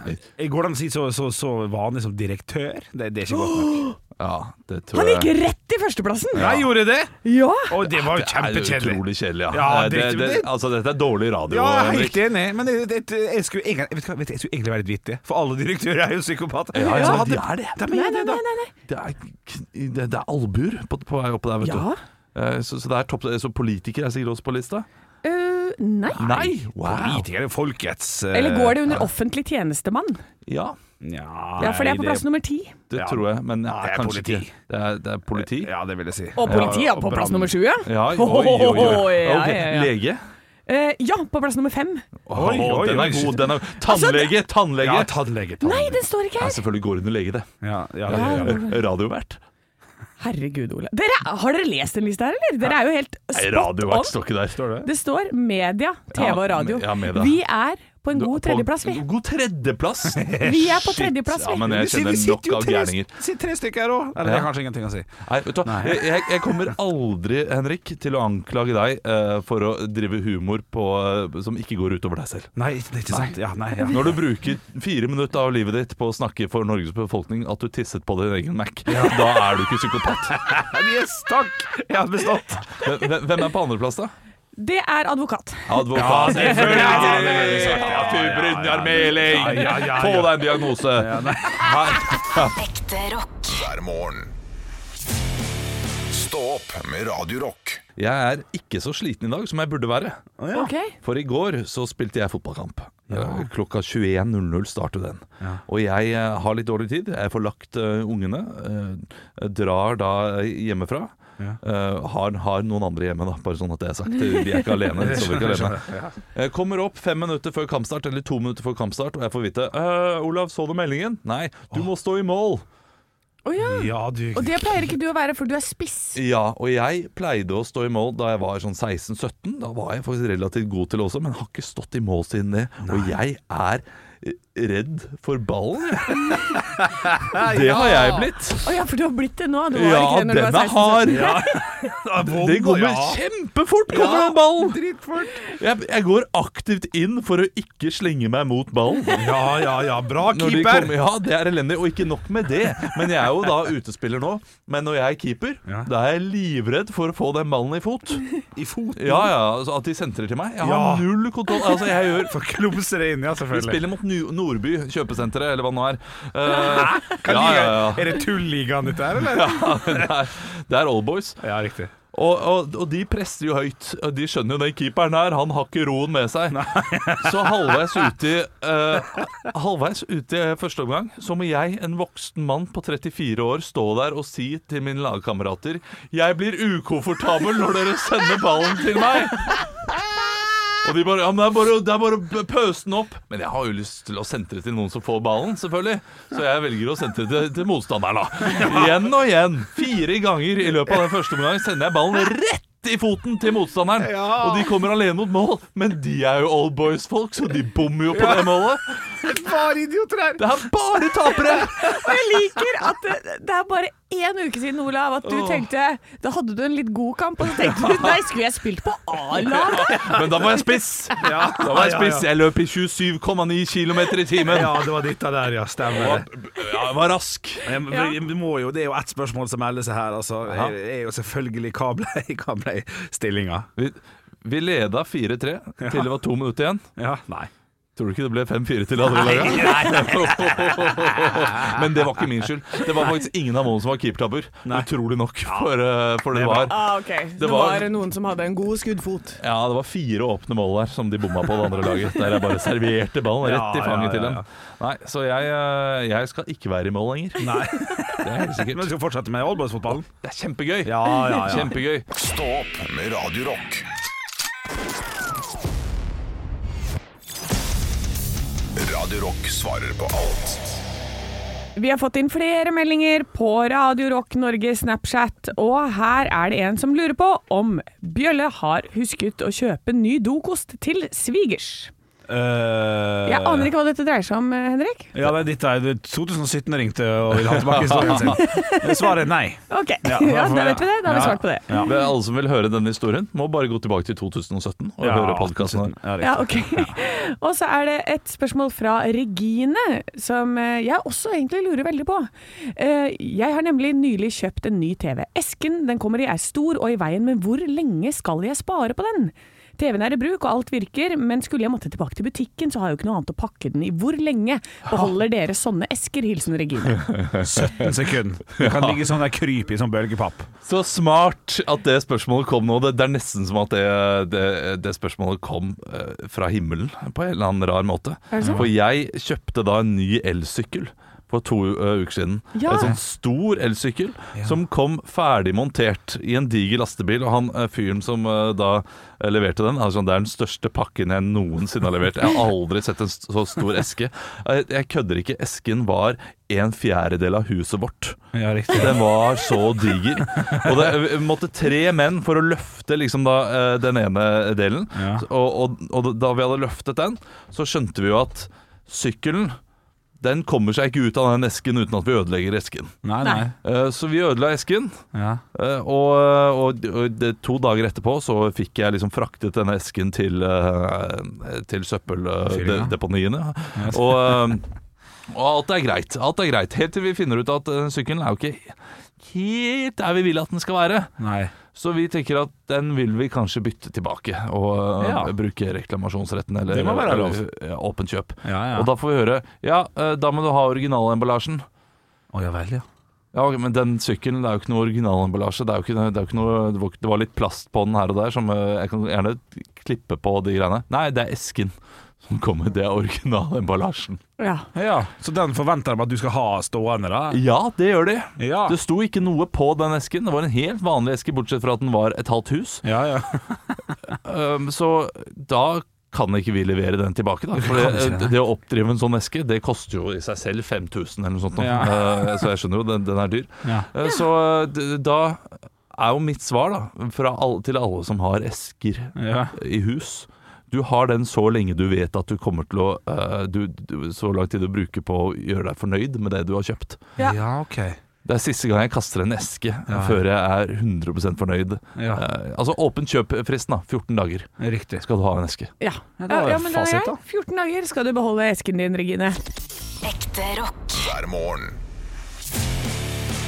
S3: Går det an å si så, så, så vanlig som direktør? Det, det er ikke godt
S4: [GASPS]
S3: nok.
S4: Ja, det tror
S5: Han
S4: jeg.
S5: gikk rett i førsteplassen!
S3: Jeg gjorde det!
S5: Ja!
S3: Og det var jo
S4: Det er
S3: kjempekjedelig.
S4: utrolig kjedelig, ja.
S3: Ja,
S4: Eh, det,
S3: det-
S4: det, altså, dette er dårlig radio.
S3: Ja, jeg er
S4: Henrik.
S3: helt enig, men det, det, det, jeg, skulle egentlig, vet du hva, vet du, jeg skulle egentlig være litt vittig, for alle direktører er jo psykopater.
S4: Ja, ja,
S3: Så hadde-
S4: de er det.
S3: De
S5: Nei,
S3: er
S5: nei,
S3: det,
S5: nei,
S3: da.
S5: nei, nei.
S4: Det er, kn- det, det er albuer på, på vei oppe der, vet
S5: Ja.
S4: du. Eh, Så, så, det er topp, så politikere er sikkert også på lista?
S5: Eh, nei.
S4: Nei! Wow.
S3: Politikere, folkets eh,
S5: Eller går det under offentlig tjenestemann?
S4: Ja,
S3: Nja,
S5: Ja, for det er på
S3: nei,
S5: plass nummer ti.
S4: det
S3: Ja.
S4: tror jeg, men ja,
S3: Det er
S4: kanskje
S3: politi.
S4: ikke. Det er, det er politi. Ja,
S3: Ja, det vil jeg si.
S5: Og politiet
S3: Ja,
S5: er på plass
S3: brann.
S5: nummer sju, ja.
S4: oi, oi, oi.
S5: [LAUGHS] Ja,
S4: Ok,
S5: ja, ja.
S4: Lege.
S5: Eh, ja, på plass nummer fem.
S3: Oi,
S4: Å,
S3: oi,
S4: den
S3: oi.
S4: er god. Den er,
S5: Altså,
S4: tannlege! Tannlege!
S3: Ja,
S4: Ja,
S3: tannlege.
S5: Nei,
S3: tannlege.
S5: den står ikke her!
S4: selvfølgelig går under lege, det.
S3: Ja, ja, ja, ja.
S4: Radiovert.
S5: Herregud, Ole. Dere, har dere lest den lista her, eller? Dere er jo helt
S4: Nei,
S5: spot
S4: radiovert
S5: on.
S4: står ikke der.
S3: Står det?
S5: Det står media, TV og radio.
S4: Ja, media.
S5: Vi er på en god
S4: På-
S5: tredjeplass, vi.
S4: God tredjeplass!
S5: [LAUGHS] Vi er på
S4: Shit.
S5: tredjeplass,
S4: Ja,
S5: vi.
S4: men jeg
S3: Vi
S4: kjenner
S3: sitter
S4: nok
S3: jo
S4: av
S3: tre,
S4: gærninger.
S3: sitter tre stykker her òg. Eller det er
S4: Ja.
S3: kanskje ingenting å si.
S4: Nei, vet du hva? Jeg, jeg- jeg kommer aldri, Henrik, til å anklage deg eh, for å drive humor på, eh, som ikke går utover deg selv.
S3: Nei, det er ikke sant. Ja, nei, ja.
S4: Når du bruker fire minutter av livet ditt på å snakke for Norges befolkning at du tisset på din egen Mac, da er du ikke psykopat.
S3: Yes, takk! [LAUGHS] Jeg har bestått.
S4: Hvem- Hvem hvem er på andreplass, da?
S5: Det er advokat.
S4: Advokat.
S3: Ja, selvfølgelig.
S4: Ja,
S3: Ja, det er det vi sa.
S4: Ja, Fy Brynjar
S3: Ja, ja,
S4: Meling!
S3: ja,
S4: Få
S3: ja.
S4: deg en diagnose. Her.
S1: Ekte rock.
S2: hver morgen. Stå opp med Radio Rock.
S4: Jeg er ikke så sliten i dag som jeg burde være.
S5: Ok.
S4: For i går så spilte jeg fotballkamp. Eh, Klokka 21.00 starter den. Og jeg eh, har litt dårlig tid. Jeg får lagt eh, ungene. eh, drar da hjemmefra. Eh, har, har noen andre hjemme, da, bare sånn at det er sagt. Vi er ikke alene. Vi sover ikke alene. Jeg kommer opp fem minutter før kampstart, eller to minutter før kampstart, og jeg får vite «Øh, Olav, så du meldingen? Nei, du må stå i mål.
S5: Å ja.
S3: Ja, du
S5: Og det pleier ikke du å være, for du er spiss.
S4: Ja, og jeg pleide å stå i mål da jeg var sånn 16-17. Da var jeg faktisk relativt god til det også, men har ikke stått i mål siden det. Og jeg er eh, redd for ballen.
S5: [LAUGHS]
S4: det har jeg blitt.
S5: Å ja, for du har blitt det nå. Du var
S4: Ja,
S5: ikke det
S4: den
S5: når du var
S4: er
S5: 16.
S4: hard. [LAUGHS] Det
S3: Det
S4: kommer
S3: ja.
S4: kjempefort, kommer den ballen. Jeg, jeg går aktivt inn for å ikke slenge meg mot
S5: [LAUGHS]
S4: ballen.
S3: ja, ja, ja. Bra
S4: Når de
S3: keeper!
S4: kommer- ja, det er elendig. Og ikke nok med det, men jeg er jo da utespiller nå. Men når jeg er keeper,
S3: Ja.
S4: da er jeg livredd for å få den ballen i fot.
S3: I foten.
S4: Ja, ja, altså At de sentrer til meg. Jeg har
S3: Ja.
S4: null kontroll. Altså, jeg
S3: [LAUGHS]
S4: gjør
S3: For klumser det inn, ja,
S4: vi
S3: selvfølgelig.
S4: spiller mot Nu- Nordby kjøpesenteret, eller hva det nå er. Eh,
S3: Kan
S4: ja, ja, [LAUGHS]
S3: liga-
S4: ja.
S3: Er det tulligaen dette her, eller?
S4: Ja, det er- Det er Allboys.
S3: Ja, riktig.
S4: Og, og, og de presser jo høyt. Og De skjønner jo den keeperen her, han har ikke roen med seg.
S3: [LAUGHS]
S4: Så halvveis ute i eh, Halvveis ute i første omgang så må jeg, en voksen mann på 34 år, stå der og si til mine lagkamerater Jeg blir ukomfortabel når dere sender ballen til meg. Og de bare Ja, men det er bare, det er bare å pøse den opp. Men jeg har jo lyst til å sentre til noen som får ballen, selvfølgelig. Så jeg velger å sentre til, til motstanderen, da. Igjen og igjen. Fire ganger i løpet av den første omgang sender jeg ballen rett i foten til motstanderen. Og de kommer alene mot mål, men de er jo old boys-folk, så de bommer jo på det målet.
S3: Bare idioter her!
S4: Det er bare tapere!
S5: Og jeg liker at det, det er bare én uke siden, Olav, at du tenkte Da hadde du en litt god kamp, og så tenkte du nei, skulle jeg spilt på
S4: [LAUGHS]
S5: A-laget?
S4: Men da var jeg spiss.
S3: Ja,
S4: Da var jeg spiss. Jeg løp i 27,9 km i timen.
S3: Ja, det var dette der, ja. Stemmer det.
S4: Ja, jeg var rask.
S3: Jeg, vi må jo, det er jo ett spørsmål som melder seg her. Altså, jeg, jeg er jo selvfølgelig Hva [LAUGHS] ble- hva ble stillinga?
S4: Vi, vi leda 4-3 til det var to minutter igjen.
S3: Ja, nei.
S4: Tror du ikke det ble 5-4 til andre laget? [LAUGHS] Men det var ikke min skyld. Det var faktisk ingen av målene som var keepertabber. Utrolig nok for, eh, for det det var.
S5: Ah, ok. Det,
S4: var-
S5: var... noen som hadde en god skuddfot.
S4: Ja, det var fire åpne mål der som de bomma på det andre laget. Der jeg bare serverte ballen rett i
S3: Ja,
S4: fanget
S3: ja,
S4: til
S3: ja,
S4: dem.
S3: ja.
S4: Nei, så jeg, eh, jeg skal ikke være i mål lenger.
S3: nei.
S4: Det er helt
S3: [LAUGHS] Men vi
S4: sikkert.
S3: skal fortsette med oldboysfotballen.
S4: Det er kjempegøy.
S3: Ja, ja, ja.
S4: Kjempegøy.
S2: Stå opp med Radio Rock. Radio Rock svarer på alt
S5: Vi har fått inn flere meldinger på Radio Rock Norge Snapchat, og her er det en som lurer på om Bjølle har husket å kjøpe ny dokost til svigers. Jeg
S4: Eh.
S5: aner ikke hva dette dreier seg om, eh, Henrik.
S3: Eh, Ja, det er ditt der. Du- 2017 ringte og [LAUGHS] ville ha tilbake historien sin. Svaret er nei.
S5: Ok, ja, [LAUGHS]
S3: Ja,
S5: da vet vi det. Da har vi
S3: ja.
S5: svart på det.
S3: Ja.
S4: Men Alle som vil høre denne historien, må bare gå tilbake til 2017 og høre podkasten her.
S3: Ja, riktig.
S5: Ja, ok. Og så er det et spørsmål fra Regine, som eh, jeg også egentlig lurer veldig på. Eh, Jeg har nemlig nylig kjøpt en ny TV. Esken den kommer i er stor og i veien, men hvor lenge skal jeg spare på den? TV-en er i bruk og alt virker, men skulle jeg måtte tilbake til butikken, så har jeg jo ikke noe annet å pakke den i. Hvor lenge beholder dere sånne esker? Hilsen Regine.
S3: [LAUGHS] 17 sekunder. Du kan ligge sånn der kryp i sånn bølgepapp.
S4: Så smart at det spørsmålet kom nå. Det, det er nesten som at det, det, det spørsmålet kom eh, fra himmelen på en eller annen rar måte. For jeg kjøpte da en ny elsykkel for to eh, uker siden.
S5: Ja.
S4: En sånn stor elsykkel som kom ferdig montert i en diger lastebil. Og han eh, fyren som eh, da eh, leverte den, altså, det er den største pakken jeg noensinne har levert. Jeg har aldri sett en st- så stor eske. Jeg, jeg kødder ikke. Esken var en fjerdedel av huset vårt.
S3: Ja, riktig.
S4: Den var så diger. Og det måtte tre menn for å løfte liksom da, eh, den ene delen.
S3: Ja.
S4: Og, og, og da vi hadde løftet den, så skjønte vi jo at sykkelen den kommer seg ikke ut av den esken uten at vi ødelegger esken.
S3: Nei, nei.
S4: Eh, Så vi ødela esken,
S3: Ja.
S4: eh, og, og, og det, to dager etterpå så fikk jeg liksom fraktet denne esken til, eh, til
S3: Fyringa.
S4: søppeldeponiene. Og, eh, og alt er greit. Alt er greit. Helt til vi finner ut at eh, sykkelen er jo ikke helt der vi vil at den skal være.
S3: Nei.
S4: Så vi tenker at den vil vi kanskje bytte tilbake, og eh,
S3: Ja.
S4: bruke reklamasjonsretten eller
S3: Det må være lov.
S4: eller, eh, åpent kjøp.
S3: Ja, ja.
S4: Og da får vi høre Ja, eh, da må du ha originalemballasjen.
S3: Å ja vel, ja.
S4: Ja, ok, men den sykkelen det er jo ikke noe originalemballasje. Det, er jo ikke, det, er jo ikke noe, det, var, det var litt plast på den her og der, som eh, jeg kan gjerne klippe på de greiene. Nei, det er esken som kommer. Det er originalemballasjen.
S5: Ja.
S3: Ja, Så den forventer de at du skal ha stående, da?
S4: Ja, det gjør de.
S3: Ja.
S4: Det sto ikke noe på den esken. Det var en helt vanlig eske, bortsett fra at den var et halvt hus.
S3: Ja, ja.
S4: Um, så da kan ikke vi levere den tilbake, da. For
S3: kan
S4: det,
S3: ikke det.
S4: det å oppdrive en sånn eske, det koster jo i seg selv 5000 eller noe sånt. nå.
S3: Ja.
S4: Eh, så jeg skjønner jo, den, den er dyr.
S3: Ja.
S4: Eh, så d- da er jo mitt svar, da, fra alle, til alle som har esker
S3: Ja.
S4: i hus du har den så lenge du vet at du kommer til å eh, du, du, Så lang tid du bruker på å gjøre deg fornøyd med det du har kjøpt.
S5: Ja.
S3: OK.
S4: Det er siste gang jeg kaster en eske
S3: Ja.
S4: før jeg er 100 fornøyd.
S3: Ja.
S4: Eh, altså åpen kjøp-fristen, da. 14 dager
S3: Riktig.
S4: skal du ha en eske.
S5: Ja,
S3: Ja,
S5: ja,
S3: det var jo
S5: men den er
S3: fasit,
S5: grei.
S3: da.
S5: 14 dager skal du beholde esken din, Regine.
S1: Ekte rock.
S2: hver morgen.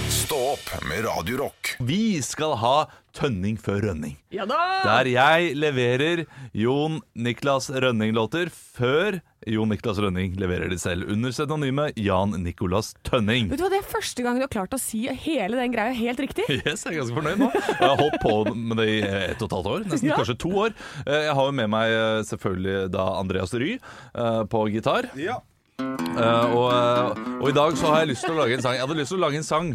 S2: Stå opp med Radio Rock.
S4: Vi skal ha Tønning før Rønning.
S5: Ja da!
S4: Der jeg leverer Jon Niklas Rønning-låter før Jon Niklas Rønning leverer de selv. Under pseudonymet Jan Nicolas Tønning.
S5: Vet du hva, Det er første gang du har klart å si hele den greia helt riktig.
S4: [LAUGHS] Yes, jeg er ganske fornøyd nå. Jeg har holdt på med det i eh, ett og et halvt år, nesten
S5: Ja.
S4: kanskje to år. Eh, Jeg har jo med meg eh, selvfølgelig da Andreas Ry eh, på gitar. Eh, og, eh, og i dag så har jeg lyst til å lage en sang Jeg hadde lyst til å lage en sang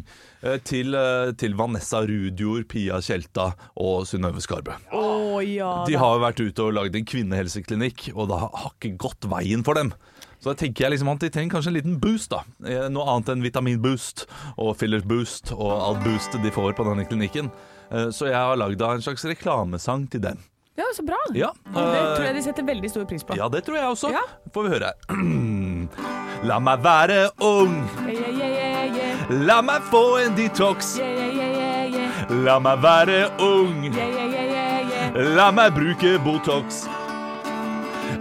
S4: eh, til, eh, til Vanessa Rudjord, Pia Tjelta og Synnøve Skarbø.
S5: Å ja
S4: De har jo vært ute og lagd en kvinnehelseklinikk, og det har ikke gått veien for dem. Så da tenker jeg liksom at de trenger kanskje en liten boost, da. Eh, Noe annet enn vitaminboost og fillerboost og alt boostet de får på denne klinikken. Eh, Så jeg har lagd en slags reklamesang til dem.
S5: Ja, Så bra.
S4: Ja. Eh,
S5: Det tror jeg de setter veldig stor pris på.
S4: Ja, det tror jeg også.
S5: Ja.
S4: Får vi høre her. [CLEARS THROAT] La meg være ung,
S5: Yeah, yeah, yeah, yeah.
S4: la meg få en detox.
S5: Yeah, yeah, yeah, yeah, yeah.
S4: La meg være ung.
S5: Yeah, yeah, yeah, yeah, yeah.
S4: La meg bruke Botox.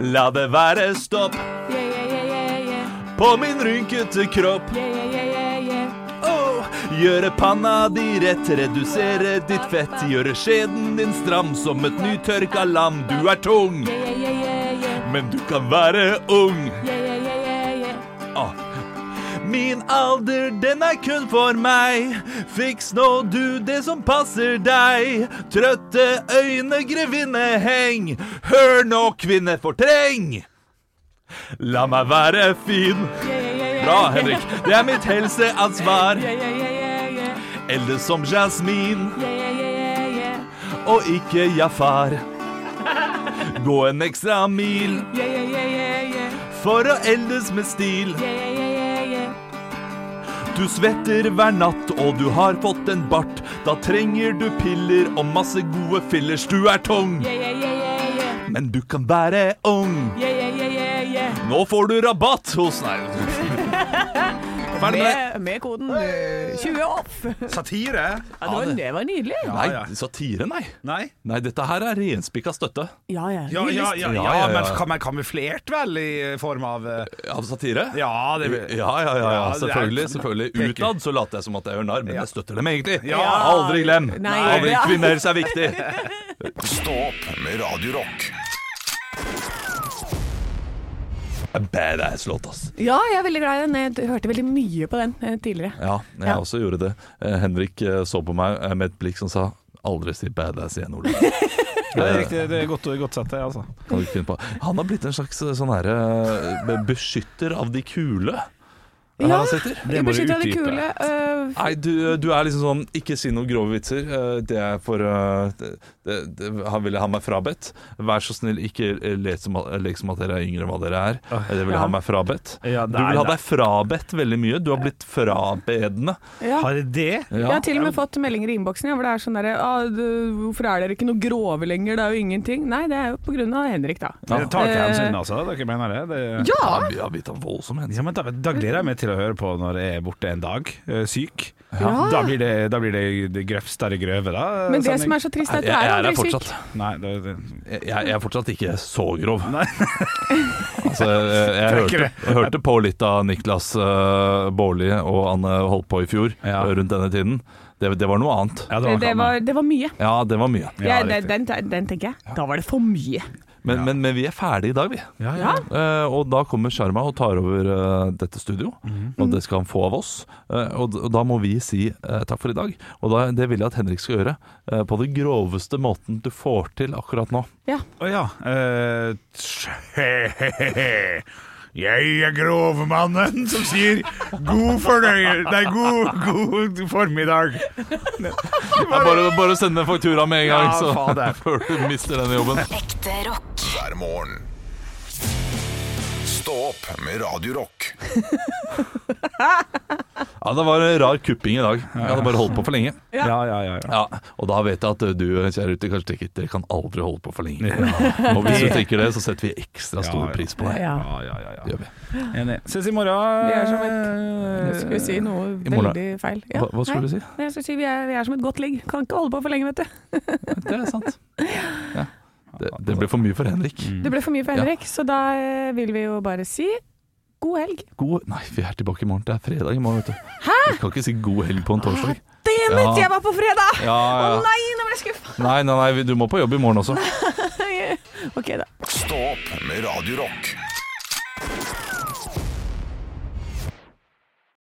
S4: La det være stopp
S5: Yeah, yeah, yeah, yeah, yeah.
S4: på min rynkete kropp.
S5: Yeah, yeah, yeah, yeah, yeah.
S4: Åh, Gjøre panna di rett, redusere ditt fett. Gjøre skjeden din stram som et nytørka lam. Du er tung,
S5: Yeah, yeah, yeah, yeah,
S4: men du kan være ung.
S5: yeah. Yeah, yeah, yeah, yeah, yeah.
S4: Ah. Min alder, den er kun for meg. Fiks nå du det som passer deg. Trøtte øyne, grevinne, heng. Hør nå, kvinne, fortreng! La meg være fin.
S5: Yeah, yeah, yeah, yeah.
S4: Bra, Henrik. Det er mitt helseansvar.
S5: Yeah, yeah, yeah, yeah, yeah.
S4: Eldre som Jasmin,
S5: Yeah, yeah, yeah, yeah, yeah.
S4: og ikke Jafar. Gå en ekstra mil
S5: Yeah, yeah, yeah, yeah, yeah.
S4: for å eldes med stil.
S5: Yeah, yeah, yeah, yeah, yeah.
S4: Du svetter hver natt, og du har fått en bart. Da trenger du piller og masse gode fillers. Du er tung,
S5: Yeah, yeah, yeah, yeah, yeah.
S4: men du kan være ung.
S5: Yeah, yeah, yeah, yeah, yeah.
S4: Nå får du rabatt hos Nei. Ferdig med det.
S5: Med, med koden eh, 20 off. Ja,
S3: Satire?
S5: det, var, det var nydelig.
S3: ja.
S4: Nei, satire, nei.
S3: Nei?
S4: Nei, dette her er renspikka støtte
S5: Ja, ja.
S3: Ja, ja, ja,
S4: Ja, ja,
S3: ja,
S4: ja.
S3: men kam- men kamuflert vel i form av eh,
S4: av satire.
S3: Ja, det
S4: Ja, ja, ja, ja,
S3: Ja, det er-
S4: selvfølgelig. selvfølgelig Utad så later jeg som at jeg gjør narr, men jeg støtter dem egentlig.
S3: Ja.
S4: Aldri glem!
S5: Nei.
S4: Aldri [LAUGHS]
S5: Ja.
S4: kvinnehelse er viktig!
S2: Stå opp med Radio Rock.
S4: Badass-låt, ass.
S5: Ja, jeg er veldig glad i den. Jeg hørte veldig mye på den eh, tidligere.
S4: Ja, jeg
S5: Ja.
S4: også gjorde det. Eh, Henrik eh, så på meg eh, med et blikk som sa Aldri si badass igjen, [LAUGHS] Olav.
S3: Det er riktig, det er godt, godt sett, det, altså.
S4: Kan du ikke finne på. Han har blitt en slags eh, sånn herre eh, beskytter av de kule. altså, Det er her
S5: Ja,
S4: han sitter.
S5: Det
S3: må du
S5: beskytter av de
S3: utdype.
S5: kule. øh,
S4: Nei, du, du er liksom sånn Ikke si noen grove vitser. eh, Det er for eh, det, det, det, Han ville ha meg frabedt. Vær så snill, ikke eh, let som, at- lek som at dere er yngre enn hva dere er. Eh, Det vil
S5: Ja.
S4: ha meg frabedt.
S3: Ja,
S4: Du
S3: nei,
S4: vil ha
S3: nei.
S4: deg frabedt veldig mye. Du har blitt frabedende.
S5: ja.
S3: Har jeg det?
S5: Jeg har til og med fått meldinger i innboksen ja, hvor det er sånn derre ah, du- Hvorfor er dere ikke noe grove lenger? Det er jo ingenting. Nei, det er jo på grunn av Henrik, da.
S3: Dere tar ikke
S5: Eh,
S3: hensyn, altså? Dere mener det? det
S5: Ja!
S4: Vi har blitt av voldsom hensyn.
S3: Ja, men da, da gleder jeg meg til å høre på når jeg er borte en dag, eh, syk.
S5: Ja.
S3: Da blir det, da blir det, det grøvstare grøve, da.
S5: Men det som er så trist, er at du er aldri syk.
S3: Nei, det, det.
S4: Jeg, jeg er fortsatt ikke så grov. [LAUGHS] altså, jeg, jeg,
S3: er ikke
S4: hørte,
S3: det.
S4: jeg hørte på litt av Niklas eh, Baarli og Anne holdt på i fjor, eh,
S3: Ja.
S4: rundt denne tiden. Det, det var noe annet.
S3: Ja, det
S5: Det,
S3: var,
S5: det, var, det var mye.
S4: Ja, det var mye.
S5: Ja,
S3: riktig.
S5: den, den, den tenker jeg. Da var det for mye.
S4: Men, men, men vi er ferdige i dag, vi.
S5: Ja.
S4: Eh, og da kommer Sharma og tar over eh, dette studio, og det skal han få av oss. Eh, og, d- og da må vi si eh, takk for i dag. Og da, det vil jeg at Henrik skal gjøre eh, på den groveste måten du får til akkurat nå.
S5: Ja.
S3: Å ja. eh, tsj, he-he-he. [LAUGHS] Jeg er grovmannen som sier god fornøyelse Nei, god, god formiddag.
S4: Det er bare, bare å sende faktura med en gang,
S3: Ja,
S4: så
S3: fader.
S4: [LAUGHS] før du mister denne jobben.
S1: Ekte rock.
S2: hver morgen. Stå opp med Radio Rock.
S4: Ja, Det var en rar kupping i dag. Jeg hadde bare holdt på for lenge.
S3: Ja, ja, ja. ja.
S4: Ja, Og da vet jeg at du kjære ute, kanskje tenker dere kan aldri holde på for lenge. Og hvis du tenker det, så setter vi ekstra stor
S3: Ja, ja.
S4: pris på det.
S5: ja.
S3: ja, ja, ja,
S4: Det
S3: ja.
S4: gjør vi.
S3: Enig. Ses i morgen.
S5: Vi er som et Skulle vi si noe
S4: I morgen.
S5: veldig feil.
S4: Hva- hva skulle du
S5: Nei.
S4: si?
S5: Nei, Jeg skulle si vi er, vi er som et godt ligg. Kan ikke holde på for lenge, vet du.
S4: Det er sant. Ja. Det, det ble for mye for Henrik.
S5: Det ble for mye for Henrik, så da eh, vil vi jo bare si god helg.
S4: God Nei, vi er tilbake i morgen. Det er fredag i morgen, vet du. Vi kan ikke si god helg på en torsdag.
S5: Damn it,
S4: Ja.
S5: jeg var på fredag!
S4: Ja,
S5: Å
S4: ja.
S5: nei, nå ble jeg skuffa.
S4: Nei, nei, nei, du må på jobb i morgen også.
S5: [LAUGHS] OK, da.
S2: Stå opp med Radio Rock.